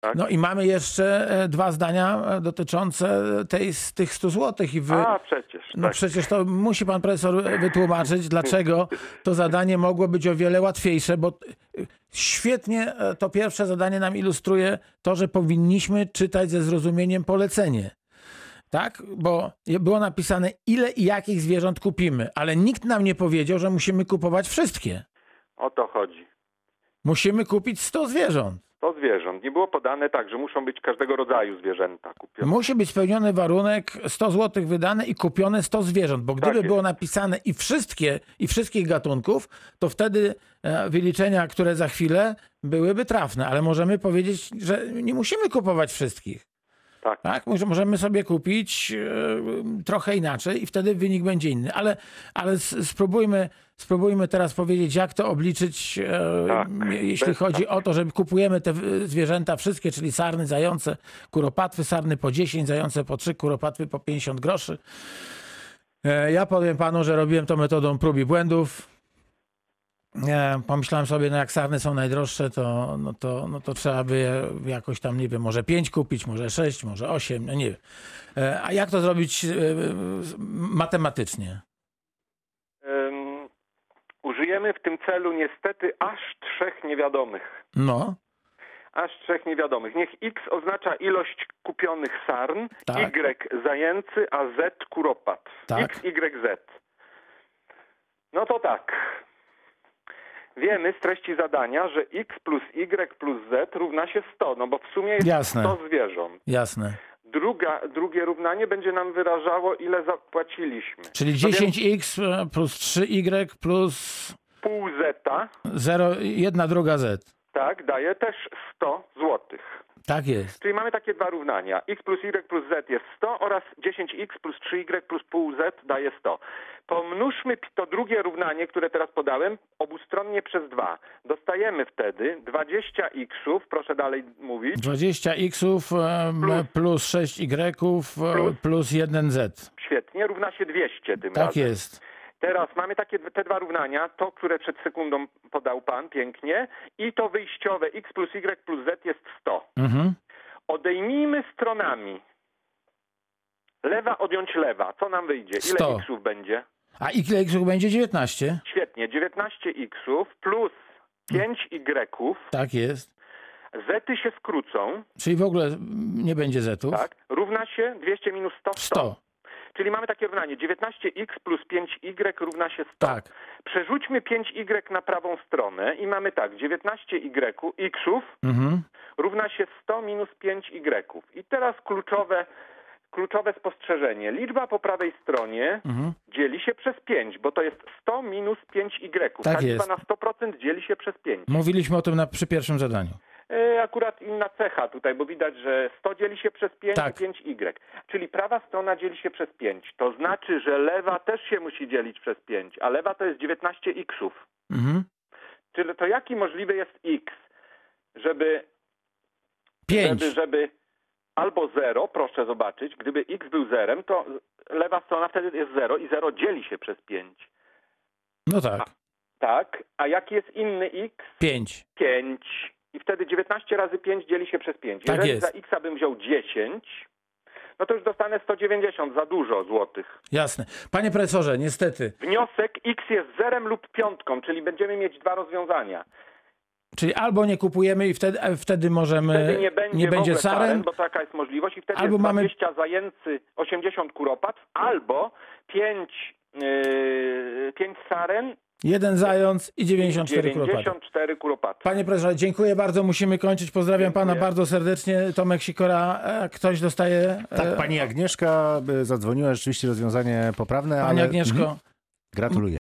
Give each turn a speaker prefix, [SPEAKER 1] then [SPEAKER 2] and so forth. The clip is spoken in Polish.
[SPEAKER 1] tak?
[SPEAKER 2] No i mamy jeszcze e, dwa zdania e, dotyczące tej, z tych 100 złotych i wy...
[SPEAKER 1] A przecież,
[SPEAKER 2] No
[SPEAKER 1] tak.
[SPEAKER 2] przecież to musi pan profesor wytłumaczyć, dlaczego to zadanie mogło być o wiele łatwiejsze, bo y, świetnie e, to pierwsze zadanie nam ilustruje to, że powinniśmy czytać ze zrozumieniem polecenie. Tak? Bo je- było napisane, ile i jakich zwierząt kupimy, ale nikt nam nie powiedział, że musimy kupować wszystkie.
[SPEAKER 1] O to chodzi.
[SPEAKER 2] Musimy kupić 100 zwierząt.
[SPEAKER 1] To zwierząt. Nie było podane tak, że muszą być każdego rodzaju zwierzęta kupione.
[SPEAKER 2] Musi być spełniony warunek 100 zł wydane i kupione 100 zwierząt, bo gdyby
[SPEAKER 1] jest.
[SPEAKER 2] było napisane i wszystkie, i wszystkich gatunków, to wtedy e, wyliczenia, które za chwilę byłyby trafne, ale możemy powiedzieć, że nie musimy kupować wszystkich.
[SPEAKER 1] Tak.
[SPEAKER 2] Tak? Może- Możemy sobie kupić e, trochę inaczej i wtedy wynik będzie inny. Ale, ale s- spróbujmy, spróbujmy teraz powiedzieć, jak to obliczyć, e,
[SPEAKER 1] Tak.
[SPEAKER 2] m- jeśli
[SPEAKER 1] Bez-
[SPEAKER 2] chodzi o to, że kupujemy te w- zwierzęta wszystkie, czyli sarny, zające, kuropatwy, sarny po 10, zające po 3, kuropatwy po 50 groszy. E, Ja powiem panu, że robiłem to metodą prób i błędów. E, Pomyślałem sobie, no jak sarny są najdroższe, to, no to, no to trzeba by je jakoś tam, nie wiem, może 5 kupić, może 6, może 8, no nie wiem. E, A jak to zrobić e, matematycznie?
[SPEAKER 1] Ym, użyjemy w tym celu niestety aż trzech niewiadomych.
[SPEAKER 2] No,
[SPEAKER 1] Aż trzech niewiadomych. Niech X oznacza ilość kupionych sarn,
[SPEAKER 2] Tak.
[SPEAKER 1] Y zajęcy, a Z kuropat.
[SPEAKER 2] Tak.
[SPEAKER 1] X, Y, Z. No to tak. Wiemy z treści zadania, że X plus Y plus Z równa się 100, no bo w sumie jest
[SPEAKER 2] Jasne.
[SPEAKER 1] 100 zwierząt.
[SPEAKER 2] jasne.
[SPEAKER 1] Druga, drugie równanie będzie nam wyrażało, ile zapłaciliśmy.
[SPEAKER 2] Czyli
[SPEAKER 1] No więc
[SPEAKER 2] 10x e, plus 3y plus
[SPEAKER 1] Pół zeta,
[SPEAKER 2] 0, 1 druga z.
[SPEAKER 1] tak, daje też 100 złotych.
[SPEAKER 2] Tak jest.
[SPEAKER 1] Czyli mamy takie dwa równania. x plus y plus z jest 100 oraz 10x plus 3y plus pół z daje 100. Pomnóżmy pi- to drugie równanie, które teraz podałem, obustronnie przez 2. Dostajemy wtedy 20xów, proszę dalej mówić,
[SPEAKER 2] 20x e, plus 6y
[SPEAKER 1] Plus.
[SPEAKER 2] plus 1z.
[SPEAKER 1] świetnie, równa się 200 tym
[SPEAKER 2] Tak
[SPEAKER 1] razem.
[SPEAKER 2] jest.
[SPEAKER 1] Teraz mamy takie d- te dwa równania, to, które przed sekundą podał pan pięknie i to wyjściowe x plus y plus z jest 100.
[SPEAKER 2] Mhm.
[SPEAKER 1] Odejmijmy stronami. Lewa odjąć lewa. Co nam wyjdzie? Ile
[SPEAKER 2] 100.
[SPEAKER 1] xów będzie?
[SPEAKER 2] A ile x będzie 19?
[SPEAKER 1] Świetnie, 19 xów plus 5 y.
[SPEAKER 2] Tak jest.
[SPEAKER 1] Zety się skrócą,
[SPEAKER 2] Czyli w ogóle mm, nie będzie zetów.
[SPEAKER 1] tak? Równa się 200 minus 100, 100.
[SPEAKER 2] 100.
[SPEAKER 1] Czyli mamy takie równanie. 19x plus 5y równa się 100.
[SPEAKER 2] Tak.
[SPEAKER 1] Przerzućmy 5y na prawą stronę i mamy tak, 19y xów
[SPEAKER 2] Mhm.
[SPEAKER 1] równa się 100 minus 5y. I teraz kluczowe, kluczowe spostrzeżenie. Liczba po prawej stronie
[SPEAKER 2] Mhm.
[SPEAKER 1] dzieli się przez 5, bo to jest 100 minus 5y.
[SPEAKER 2] Tak jest.
[SPEAKER 1] Ta liczba na 100% dzieli się przez 5.
[SPEAKER 2] Mówiliśmy o tym na, przy pierwszym zadaniu.
[SPEAKER 1] E, Akurat inna cecha tutaj, bo widać, że 100 dzieli się przez 5
[SPEAKER 2] Tak.
[SPEAKER 1] i 5y. Czyli prawa strona dzieli się przez 5. To znaczy, że lewa też się musi dzielić przez 5, a lewa to jest 19xów.
[SPEAKER 2] Mhm.
[SPEAKER 1] Czyli to jaki możliwy jest x, żeby
[SPEAKER 2] 5.
[SPEAKER 1] żeby, żeby albo 0, proszę zobaczyć, gdyby x był zerem, to lewa strona wtedy jest 0 i 0 dzieli się przez 5.
[SPEAKER 2] No tak.
[SPEAKER 1] Tak, a jaki jest inny x?
[SPEAKER 2] 5.
[SPEAKER 1] 5. I wtedy 19 razy 5 dzieli się przez 5.
[SPEAKER 2] Tak
[SPEAKER 1] Jeżeli
[SPEAKER 2] jest.
[SPEAKER 1] za x bym wziął 10, no to już dostanę 190 za dużo złotych.
[SPEAKER 2] Jasne. Panie profesorze, niestety.
[SPEAKER 1] Wniosek x jest zerem lub piątką, czyli będziemy mieć dwa rozwiązania.
[SPEAKER 2] Czyli albo nie kupujemy i wtedy, a wtedy możemy.
[SPEAKER 1] Wtedy E, nie będzie,
[SPEAKER 2] nie
[SPEAKER 1] w
[SPEAKER 2] będzie
[SPEAKER 1] ogóle
[SPEAKER 2] saren.
[SPEAKER 1] saren, bo taka jest możliwość i wtedy
[SPEAKER 2] Albo
[SPEAKER 1] jest
[SPEAKER 2] mamy-
[SPEAKER 1] 20 zajęcy, 80 kuropatw, albo 5, yy, 5 saren,
[SPEAKER 2] Jeden zając i 94 kropatki.
[SPEAKER 1] 94 kuropatw.
[SPEAKER 2] Panie profesorze, dziękuję bardzo. Musimy kończyć. Pozdrawiam
[SPEAKER 1] Dziękuję.
[SPEAKER 2] pana bardzo serdecznie. Tomek Sikora. e, Ktoś dostaje. e,
[SPEAKER 3] Tak, pani Agnieszka y, zadzwoniła, rzeczywiście e, rozwiązanie poprawne,
[SPEAKER 2] Pani
[SPEAKER 3] ale...
[SPEAKER 2] Agnieszko.
[SPEAKER 3] Mhm. Gratuluję.